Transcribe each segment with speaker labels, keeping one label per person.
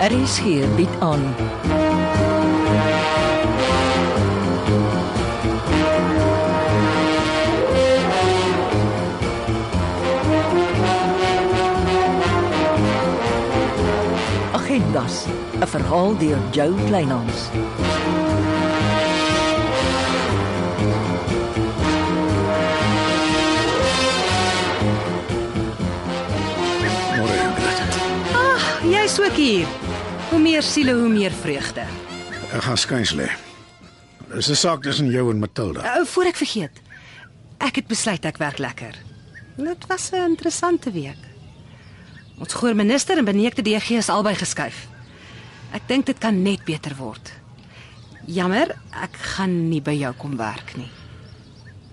Speaker 1: RSG bied aan. Agendas, 'n verhaal deur Jo Kleinhans.
Speaker 2: Môre Ingrid.
Speaker 3: Jy's ook hier. Hoe meer siele, hoe meer vreugde.
Speaker 2: Ek gaan skuins lê. Dis 'n saak tussen jou en Matilda.
Speaker 3: Uh, voor ek vergeet. Ek het besluit ek werk lekker. Dit was 'n interessante week. Ons goeieminister en beneekte DG is albei geskuif. Ek dink dit kan net beter word. Jammer, ek gaan nie by jou kom werk nie.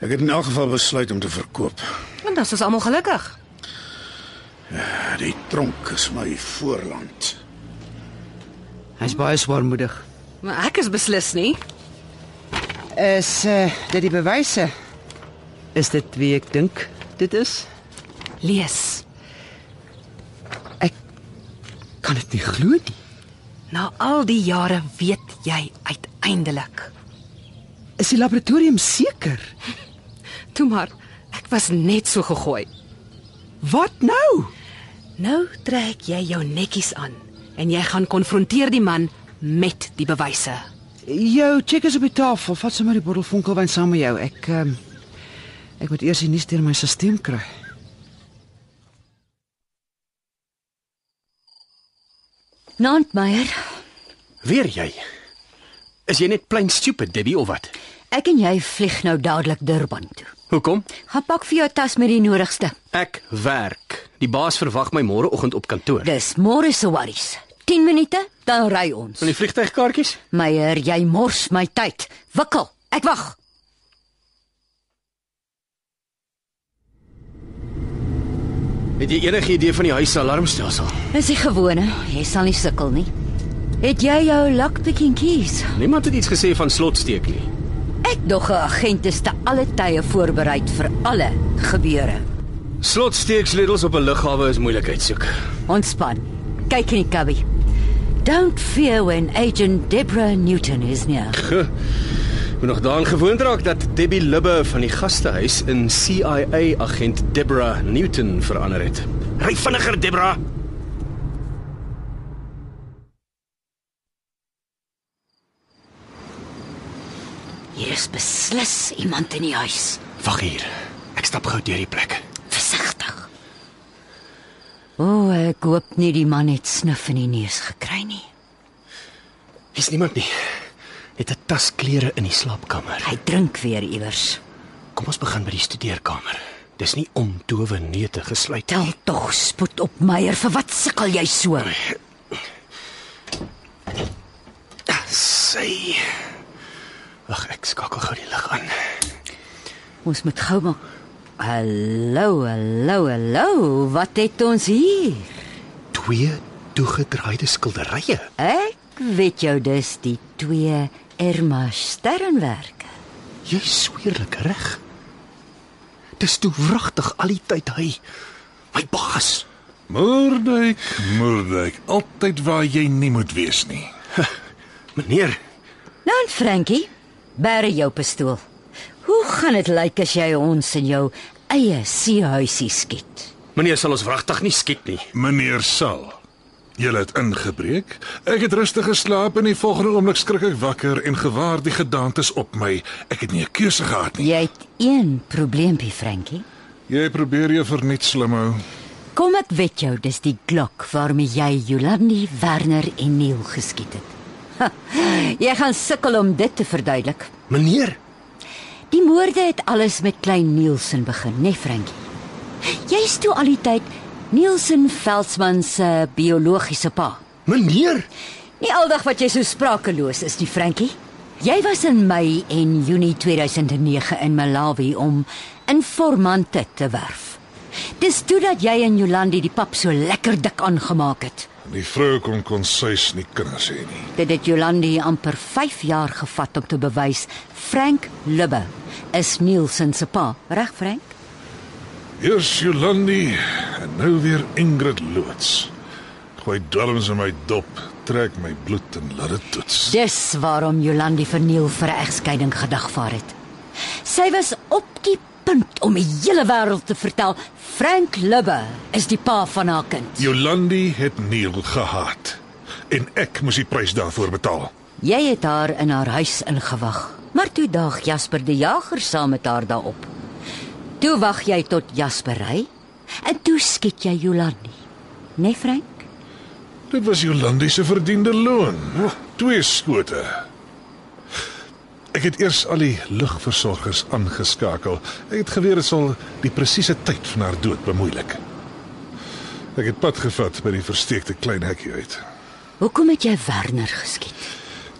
Speaker 2: Ek het in elk geval besluit om te verkoop.
Speaker 3: En dan is ons almal gelukkig.
Speaker 2: Die tronk is my voorland.
Speaker 4: Hy's baie swaarmoedig.
Speaker 3: Maar ek is beslis nie.
Speaker 4: Is eh uh, dit die bewyse? Is dit wie ek dink dit is?
Speaker 3: Lees.
Speaker 4: Kan dit nie glo nie.
Speaker 3: Na al die jare weet jy uiteindelik.
Speaker 4: Is die laboratorium seker?
Speaker 3: Toe maar, ek was net so gegooi.
Speaker 4: Wat nou?
Speaker 3: Nou trek jy jou netjies aan en jy gaan konfronteer die man met die bewyse.
Speaker 4: Jou check is op die tafel. Vat sommer die bottel vonkelwyn saam met jou. Ek ehm ek moet eers die nuus deur my stelsel kry.
Speaker 5: Nant Meyer,
Speaker 6: Weer jy? Is jy net plain stupid, Debbie of wat?
Speaker 5: ek en jy vlieg nou dadelik Durban toe.
Speaker 6: Hoekom?
Speaker 5: Gaan pak vir jou tas met die nodigste.
Speaker 6: Ek werk. Die baas verwag my môreoggend op kantoor.
Speaker 5: Dis môre se worries. 10 minute, dan ry ons.
Speaker 6: Van die vliegtygkaartjies?
Speaker 5: Meyer, jy mors my tyd. Wikkel, ek wag.
Speaker 6: Het jy enige idee van die huis se alarmstelsel?
Speaker 5: Dis die gewone, jy sal nie sukkel nie. Het jy jou lockpicking keys?
Speaker 6: Niemand het iets gesê van slotsteek nie.
Speaker 5: Ek dog 'n agent is te alle tye voorberei vir alle gebeure.
Speaker 6: Slotsteeksledels op 'n lughawe is moeilikheid soek.
Speaker 5: Ontspan. Kyk in die kabbie. Don't fear when agent Deborah Newton is near.
Speaker 6: Moet nog daaraan gewoond raak dat Debbie Libbe van die gastehuis in CIA agent Deborah Newton verander het. Ry vinniger, Deborah.
Speaker 5: Hier is beslis iemand in die huis.
Speaker 6: Wag hier. Ek stap gou deur die plek.
Speaker 5: Versigtig. O, oh, ek hoop nie die man het snuf in die neus gekry nie.
Speaker 6: Hier's niemand nie. Het 'n tas klere in die slaapkamer.
Speaker 5: Hy drink weer iewers.
Speaker 6: Kom ons begin by die studeerkamer. Dis nie om towe neute gesluit
Speaker 5: Tel tog spoed op, Meyer, vir wat sukkel jy so?
Speaker 6: Sy. Ag, ek skakel gou die lig aan.
Speaker 5: Ons moet gou maak. Hallo, hallo, hallo. Wat het ons hier?
Speaker 6: Twee toegedraaide skilderye.
Speaker 5: Ek weet jou dis die twee Irma Sternwerke.
Speaker 6: Jy sweerlik reg. Dis toe wragtig al die tyd hy. My baas.
Speaker 7: Moordwyk, Moordwyk, altyd waar jy nie moet wees nie.
Speaker 6: Meneer,
Speaker 5: Nou, en Frankie, bære jou pistool. Hoe gaan dit lyk as jy ons in jou eie seehuisie skiet?
Speaker 6: meneer sal ons wragtig nie skiet nie.
Speaker 7: Meneer Sal, jy het ingebreek. Ek het rustig geslaap en die volgende oomblik skrik ek wakker en gewaar die gedaantes op my. Ek het nie 'n keuse gehad nie.
Speaker 5: Jy het een probleempie, Frankie.
Speaker 7: Jy probeer jou verniet slimhou.
Speaker 5: Kom ek weet jou, dis die Glock waarmee jy Jolandi, Werner en Neil geskiet het. Ha, jy gaan sukkel om dit te verduidelik.
Speaker 6: Meneer,
Speaker 5: Die moorde het alles met klein Nielsen begin, né, nee, Frankie? Jy's toe al die tyd Nielsen Veldsmann se biologiese pa.
Speaker 6: meneer,
Speaker 5: Nie aldag wat jy so sprakeloos is nie, Frankie. Jy was in Mei en Junie 2009 in Malawi om informante te werf. Dis toe dat jy en Jolandi die pap so lekker dik aangemaak het.
Speaker 7: Die vrou kon konsuis nie kinders hê nie.
Speaker 5: Dit het Jolandi amper 5 jaar gevat om te bewys Frank Lubbe is Nielsen se pa. Reg, Frank?
Speaker 7: Eers Jolandi en nou weer Ingrid Loots. My darmes en my dop trek my bloed en laat dit toets.
Speaker 5: Dis waarom Jolandi verniel vir 'n egskeiding gedagvaar het. Sy was op die punt om die hele wêreld te vertel Frank Lubbe is die pa van haar kind.
Speaker 7: Jolandi het Neil gehaat en ek moes die prys daarvoor betaal.
Speaker 5: Jy het haar in haar huis ingewag, maar toe daag Jasper die Jager saam met haar daarop. Toe wag jy tot Jasper ry en toe skiet jy Jolandi. Nee Frank?
Speaker 7: Dit was Jolandi se verdiende loon. Twee skote. Ek het eers al die lugversorgers aangeskakel. Ek het geweet dit sal die presiese tyd van haar dood bemoeilik. Ek het pad gevat by die versteekte klein hekkie uit.
Speaker 5: Hoekom het jy Werner geskiet?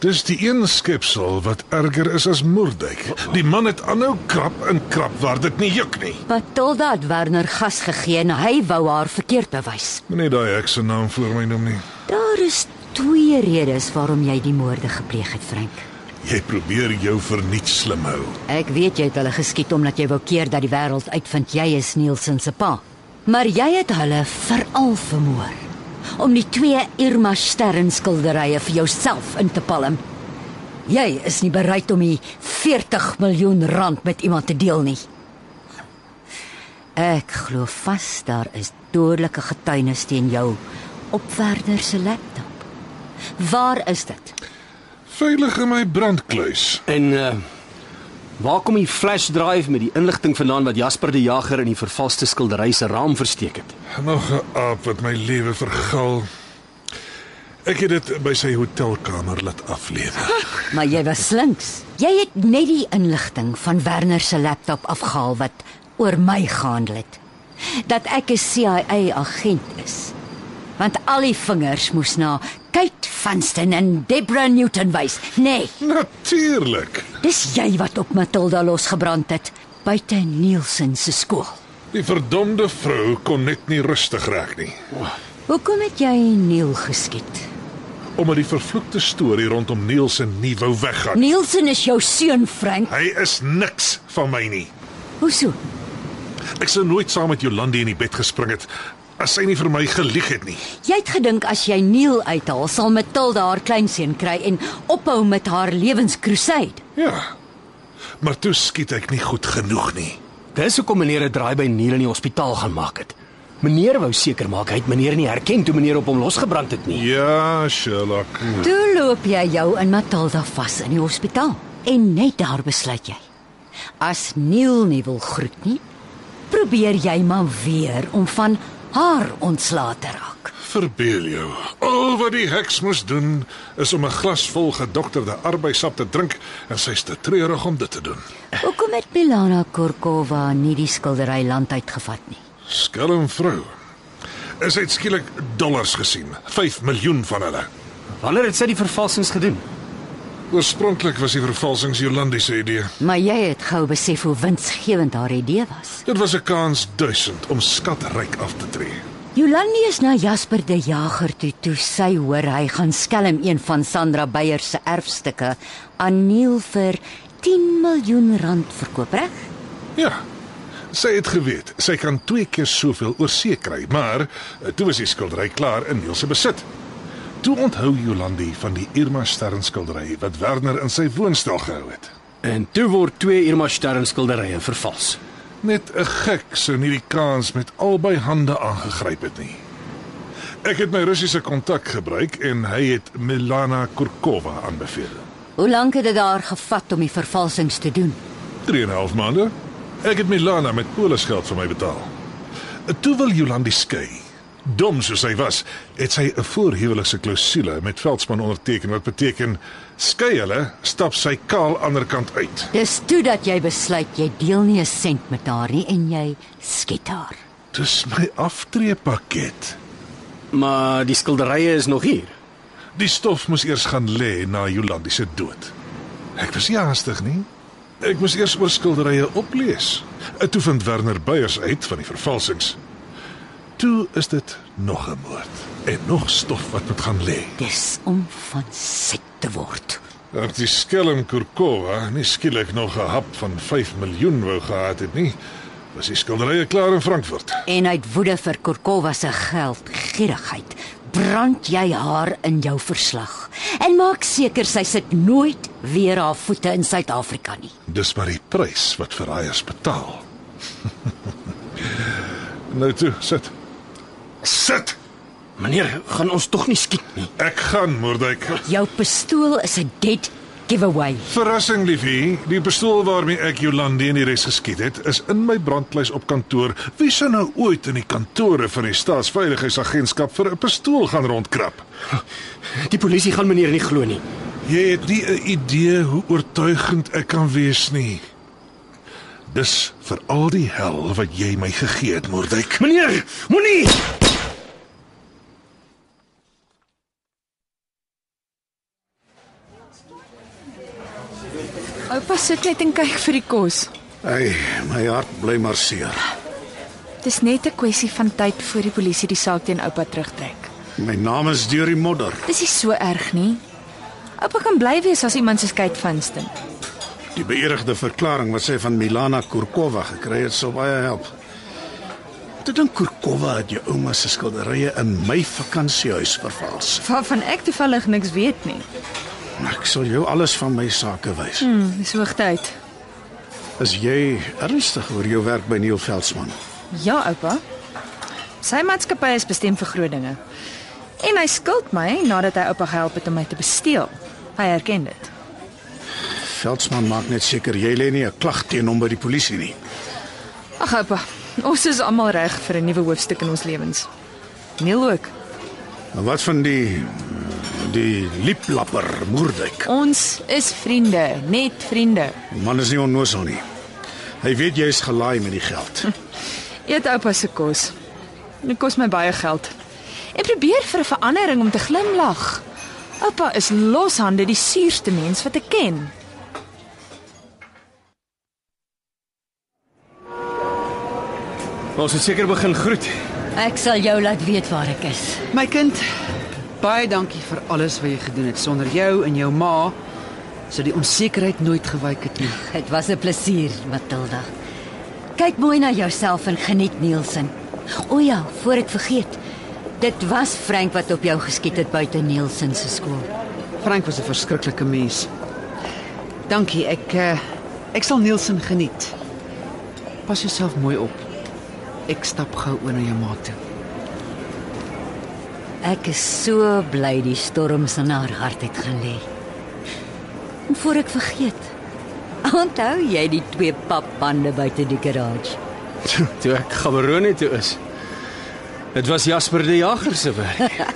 Speaker 7: Dis die een skepsel wat erger is as Moerdijk. Die man het aanhou krap en krap waar dit nie juk nie.
Speaker 5: Matilda het Werner gas gegee en hy wou haar verkeerd bewys.
Speaker 7: Moenie daai hek se naam voor my noem nie.
Speaker 5: Daar is twee redes waarom jy die moorde gepleeg het, Frank.
Speaker 7: Jy probeer jou verniet slim hou.
Speaker 5: Ek weet jy het hulle geskiet omdat jy wou keer dat die wêreld uitvind jy is Nielsen se pa. Maar jy het hulle veral vermoor om die twee Irma Stern skilderye vir jouself in te palm. Jy is nie bereid om die 40 miljoen rand met iemand te deel nie. Ek glo vas daar is dodelike getuienis teen jou op Werner se laptop. Waar is dit?
Speaker 7: Veilig in my brandkluis.
Speaker 6: En uh waar kom die flash drive met die inligting vandaan wat Jasper die Jager in die vervalste skildery se raam versteek het?
Speaker 7: Nog 'n aap wat my lewe vergal. Ek het dit by sy hotelkamer laat aflewer.
Speaker 5: Maar jy was slinks. Jy het net die inligting van Werner se laptop afgehaal wat oor my gehandel het. Dat ek 'n CIA agent is. Want al die vingers moes na Kate Vanston en Deborah Newton wys. Nee,
Speaker 7: Natuurlik.
Speaker 5: dis jy wat op Matilda losgebrand het buite Nielsen se skool.
Speaker 7: Die verdomde vrou kon net nie rustig raak nie.
Speaker 5: Hoekom het jy Neil geskiet?
Speaker 7: Omdat die vervloekte storie rondom Nielsen nie wou weggaan.
Speaker 5: Nielsen is jou seun, Frank.
Speaker 7: Hy is niks van my nie.
Speaker 5: Hoeso?
Speaker 7: Ek sou nooit saam met Jolandi in die bed gespring het as sy nie vir my gelieg het nie.
Speaker 5: Jy het gedink as jy Neil uithaal, sal Matilda haar kleinseun kry en ophou met haar lewenskruisyd.
Speaker 7: Ja. Maar toe skiet ek nie goed genoeg nie.
Speaker 6: Dis hoekom meneer 'n draai by Neil in die hospitaal gaan maak het. Meneer wou seker maak hy het meneer nie herken toe meneer op hom losgebrand het nie.
Speaker 7: Ja, Sherlock.
Speaker 5: Toe loop jy jou in Matilda vas in die hospitaal en net daar besluit jy. As Neil nie wil groet nie, probeer jy maar weer om van haar ontslae te raak.
Speaker 7: Verbeel jou, al wat die heks moes doen is om 'n glas vol gedokterde arbeidsap te drink en sy's te treurig om dit te doen.
Speaker 5: Hoekom het Milana Korkova nie die skildery land uitgevat nie?
Speaker 7: Skelm vrou. Is hy skielik dollars gesien? 5 miljoen van hulle.
Speaker 6: Wanneer het sy die vervalsings gedoen?
Speaker 7: Oorspronklik was die vervalsings Jolandi se idee.
Speaker 5: Maar jy het gou besef hoe winsgewend haar idee was.
Speaker 7: Dit was 'n kans duisend om skatryk af te tree.
Speaker 5: Jolandi is na Jasper die Jager toe toe sy hoor hy gaan skelm een van Sandra Beyer se erfstukke aan Neil vir 10 miljoen rand verkoop, reg?
Speaker 7: Ja. Sy het geweet sy kan twee keer soveel oor see kry, maar eh, toe was die skildery klaar in Neil se besit. Toe onthou Jolandi van die Irma Stern skildery wat Werner in sy woonstel gehou het.
Speaker 6: En toe word twee Irma Stern skilderye vervals.
Speaker 7: Net 'n gek sou nie die kans met albei hande aangegryp het nie. Ek het my Russiese kontak gebruik en hy het Milana Kurkova aanbeveel.
Speaker 5: Hoe lank het dit daar gevat om die vervalsings te doen?
Speaker 7: 3 en 'n half maande. Ek het Milana met polisgeld vir my betaal. Toe wil Jolandi skei. Dom soos sy was, het sy 'n voorhuwelikse klousule met Veldsmann onderteken wat beteken skei hulle, stap sy kaal ander kant uit.
Speaker 5: Dis toe dat jy besluit jy deel nie 'n sent met haar nie en jy skiet haar.
Speaker 7: Dis my aftreepakket.
Speaker 6: Maar die skilderye is nog hier.
Speaker 7: Die stof moes eers gaan lê na Jolandi se dood. Ek was nie haastig nie. Ek moes eers oor skilderye oplees. Ek toe vind Werner Beyers uit van die vervalsings. Toe is dit nog 'n moord en nog stof wat moet gaan lê.
Speaker 5: Dis om van siek te word.
Speaker 7: Dat die skelm Kurkova nie skielik nog 'n hap van 5 miljoen wou gehad het nie, was die skilderye klaar in Frankfurt.
Speaker 5: En uit woede vir Korkova se geld gierigheid brand jy haar in jou verslag en maak seker sy sit nooit weer haar voete in Suid-Afrika nie.
Speaker 7: Dis maar die prys wat verraaiers betaal. nou toe, sit. Sit.
Speaker 6: Meneer, gaan ons tog nie skiet nie.
Speaker 7: Ek gaan, Moordwyk.
Speaker 5: Jou pistool is 'n dead giveaway.
Speaker 7: Verrassing, liefie. Die pistool waarmee ek Jolande en die res geskiet het, is in my brandlys op kantoor. Wie sou nou ooit in die kantore van die Staatsveiligheidsagentskap vir 'n pistool gaan rondkrap?
Speaker 6: Die polisie gaan meneer nie glo nie.
Speaker 7: Jy het nie 'n idee hoe oortuigend ek kan wees nie. Dis vir al die hel wat jy my gegee het, Moordwyk.
Speaker 6: Meneer, moenie.
Speaker 8: Oupa sit net en kyk vir die kos.
Speaker 2: Hey, my hart bly maar seer.
Speaker 8: Dis net 'n kwessie van tyd voor die polisie die saak teen oupa terugtrek.
Speaker 2: My naam is deur die modder.
Speaker 8: Dis nie so erg nie. Oupa kan bly wees as iemand se skei van stem.
Speaker 2: Die beëdigde verklaring wat sy van Milana Kurkova gekry het, sou baie help. Ek dink Kurkova het jou ouma se skilderye in my vakansiehuis vervals.
Speaker 8: Waarvan ek toevallig niks weet nie.
Speaker 2: Ek sal jou alles van my sake wys.
Speaker 8: Hm, dis hoogtyd.
Speaker 2: Is jy ernstig oor jou werk by Neil Veldsmann?
Speaker 8: Ja, oupa. Sy maatskappy is bestem vir groot dinge. En hy skuld my nadat hy oupa gehelp het om my te besteel. Hy erken dit.
Speaker 2: Veldsmann maak net seker jy lê nie 'n klag teen hom by die polisie nie.
Speaker 8: Ag oupa, ons is almal reg vir 'n nuwe hoofstuk in ons lewens. Neil ook.
Speaker 2: Maar wat van die die lieplapper Moerdijk?
Speaker 8: Ons is vriende, net vriende.
Speaker 2: Die man is nie onnosel nie. Hy weet jy is gelaai met die geld.
Speaker 8: Eet oupa se kos. Dit kos my baie geld. Ek probeer vir 'n verandering om te glimlag. Oupa is loshande die suurste mens wat ek ken.
Speaker 6: Ons het seker begin groet.
Speaker 5: Ek sal jou laat weet waar ek is.
Speaker 4: My kind, baie dankie vir alles wat jy gedoen het. Sonder jou en jou ma sou die onsekerheid nooit gewyk het nie.
Speaker 5: Dit was 'n plesier, Matilda. Kyk mooi na jouself en geniet Nielsen. O ja, voor ek vergeet. Dit was Frank wat op jou geskiet het buite Nielsen se skool.
Speaker 4: Frank was 'n verskriklike mens. Dankie. Ek eh, ek sal Nielsen geniet. Pas jouself mooi op. Ek stap gou oor na jou ma toe.
Speaker 5: Ek is so bly die storms in haar hart het gaan lê. En voor ek vergeet, onthou jy die twee papbande buite die garage?
Speaker 6: Toe, toe ek Gaborone toe is. Dit was Jasper die Jager se werk.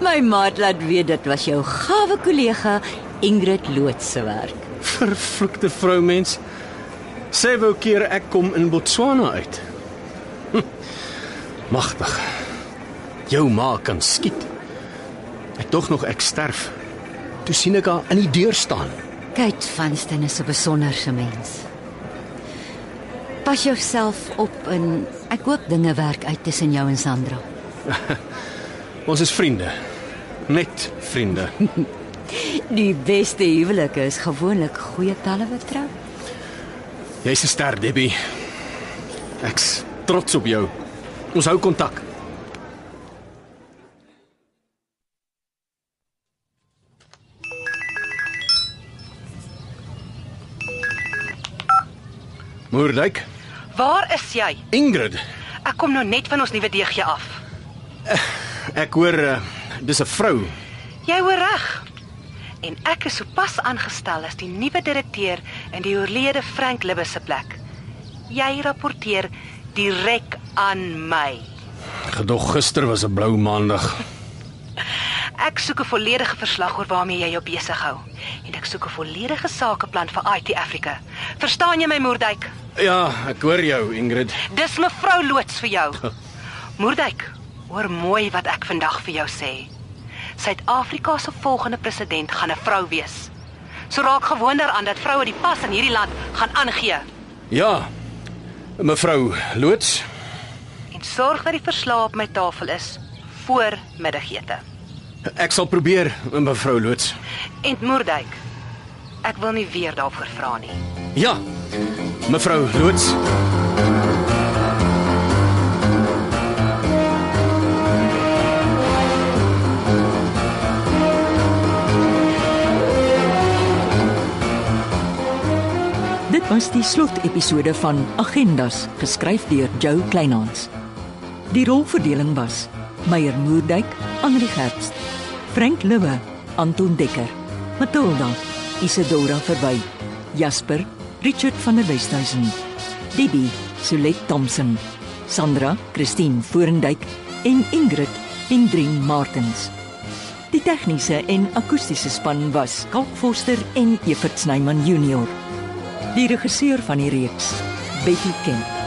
Speaker 5: My maat laat weet dit was jou gawe kollega Ingrid Loots se werk.
Speaker 6: Vervloekte vroumens. Sy wou keer ek kom in Botswana uit. Hm, Magtig. Jou ma kan skiet. Ek dog nog ek sterf. Toe sien ek haar in die deur staan.
Speaker 5: Kate Vanston is 'n besonderse mens. Pas jouself op en ek hoop dinge werk uit tussen jou en Sandra.
Speaker 6: Ons is vriende. Net vriende.
Speaker 5: Die beste huwelike is gewoonlik goeie talle wat trou.
Speaker 6: Jy's 'n ster, Debbie. Ek's trots op jou. Ons hou kontak. Moerdijk,
Speaker 3: Waar is jy?
Speaker 6: Ingrid.
Speaker 3: Ek kom nou net van ons nuwe DG af.
Speaker 6: Ek hoor uh, dis 'n vrou.
Speaker 3: Jy hoor reg. En ek is sopas aangestel as die nuwe direkteur in die oorlede Frank Libbe se plek. Jy rapporteer direk aan my.
Speaker 6: Gedog gister was 'n blou maandag.
Speaker 3: Ek soek 'n volledige verslag oor waarmee jy jou besig hou en ek soek 'n volledige sakeplan vir IT Africa. Verstaan jy my Moerdijk?
Speaker 6: Ja, ek hoor jou, Ingrid.
Speaker 3: Dis mevrou loods vir jou. Moerdijk, hoor mooi wat ek vandag vir jou sê. Suid-Afrika se volgende president gaan 'n vrou wees. So raak gewoond daaraan dat vroue die pas in hierdie land gaan aangee
Speaker 6: Ja. Mevrou Loots,
Speaker 3: en sorg dat die verslae op my tafel is voor middagete.
Speaker 6: ek sal probeer, mevrou Loots.
Speaker 3: En Moerdijk, ek wil nie weer daarvoor vra nie.
Speaker 6: Ja. Mevrou Loots.
Speaker 1: was die slotepisode van Agendas, geskryf deur Jo Kleinhans. Die rolverdeling was: Meyer Moerdijk, Anri Gerst, Frank Libbe, Anton Dekker, Matilda, Isidora Verwy, Jasper, Richard van der Westhuizen, Debbie, Solet Thompson, Sandra, Christine Forendyk en Ingrid Hendrin Martens. Die tegniese en akoestiese span was Kalk Forster en Evert Snyman Junior. Die regisseur van die reeks, Betty Kemp.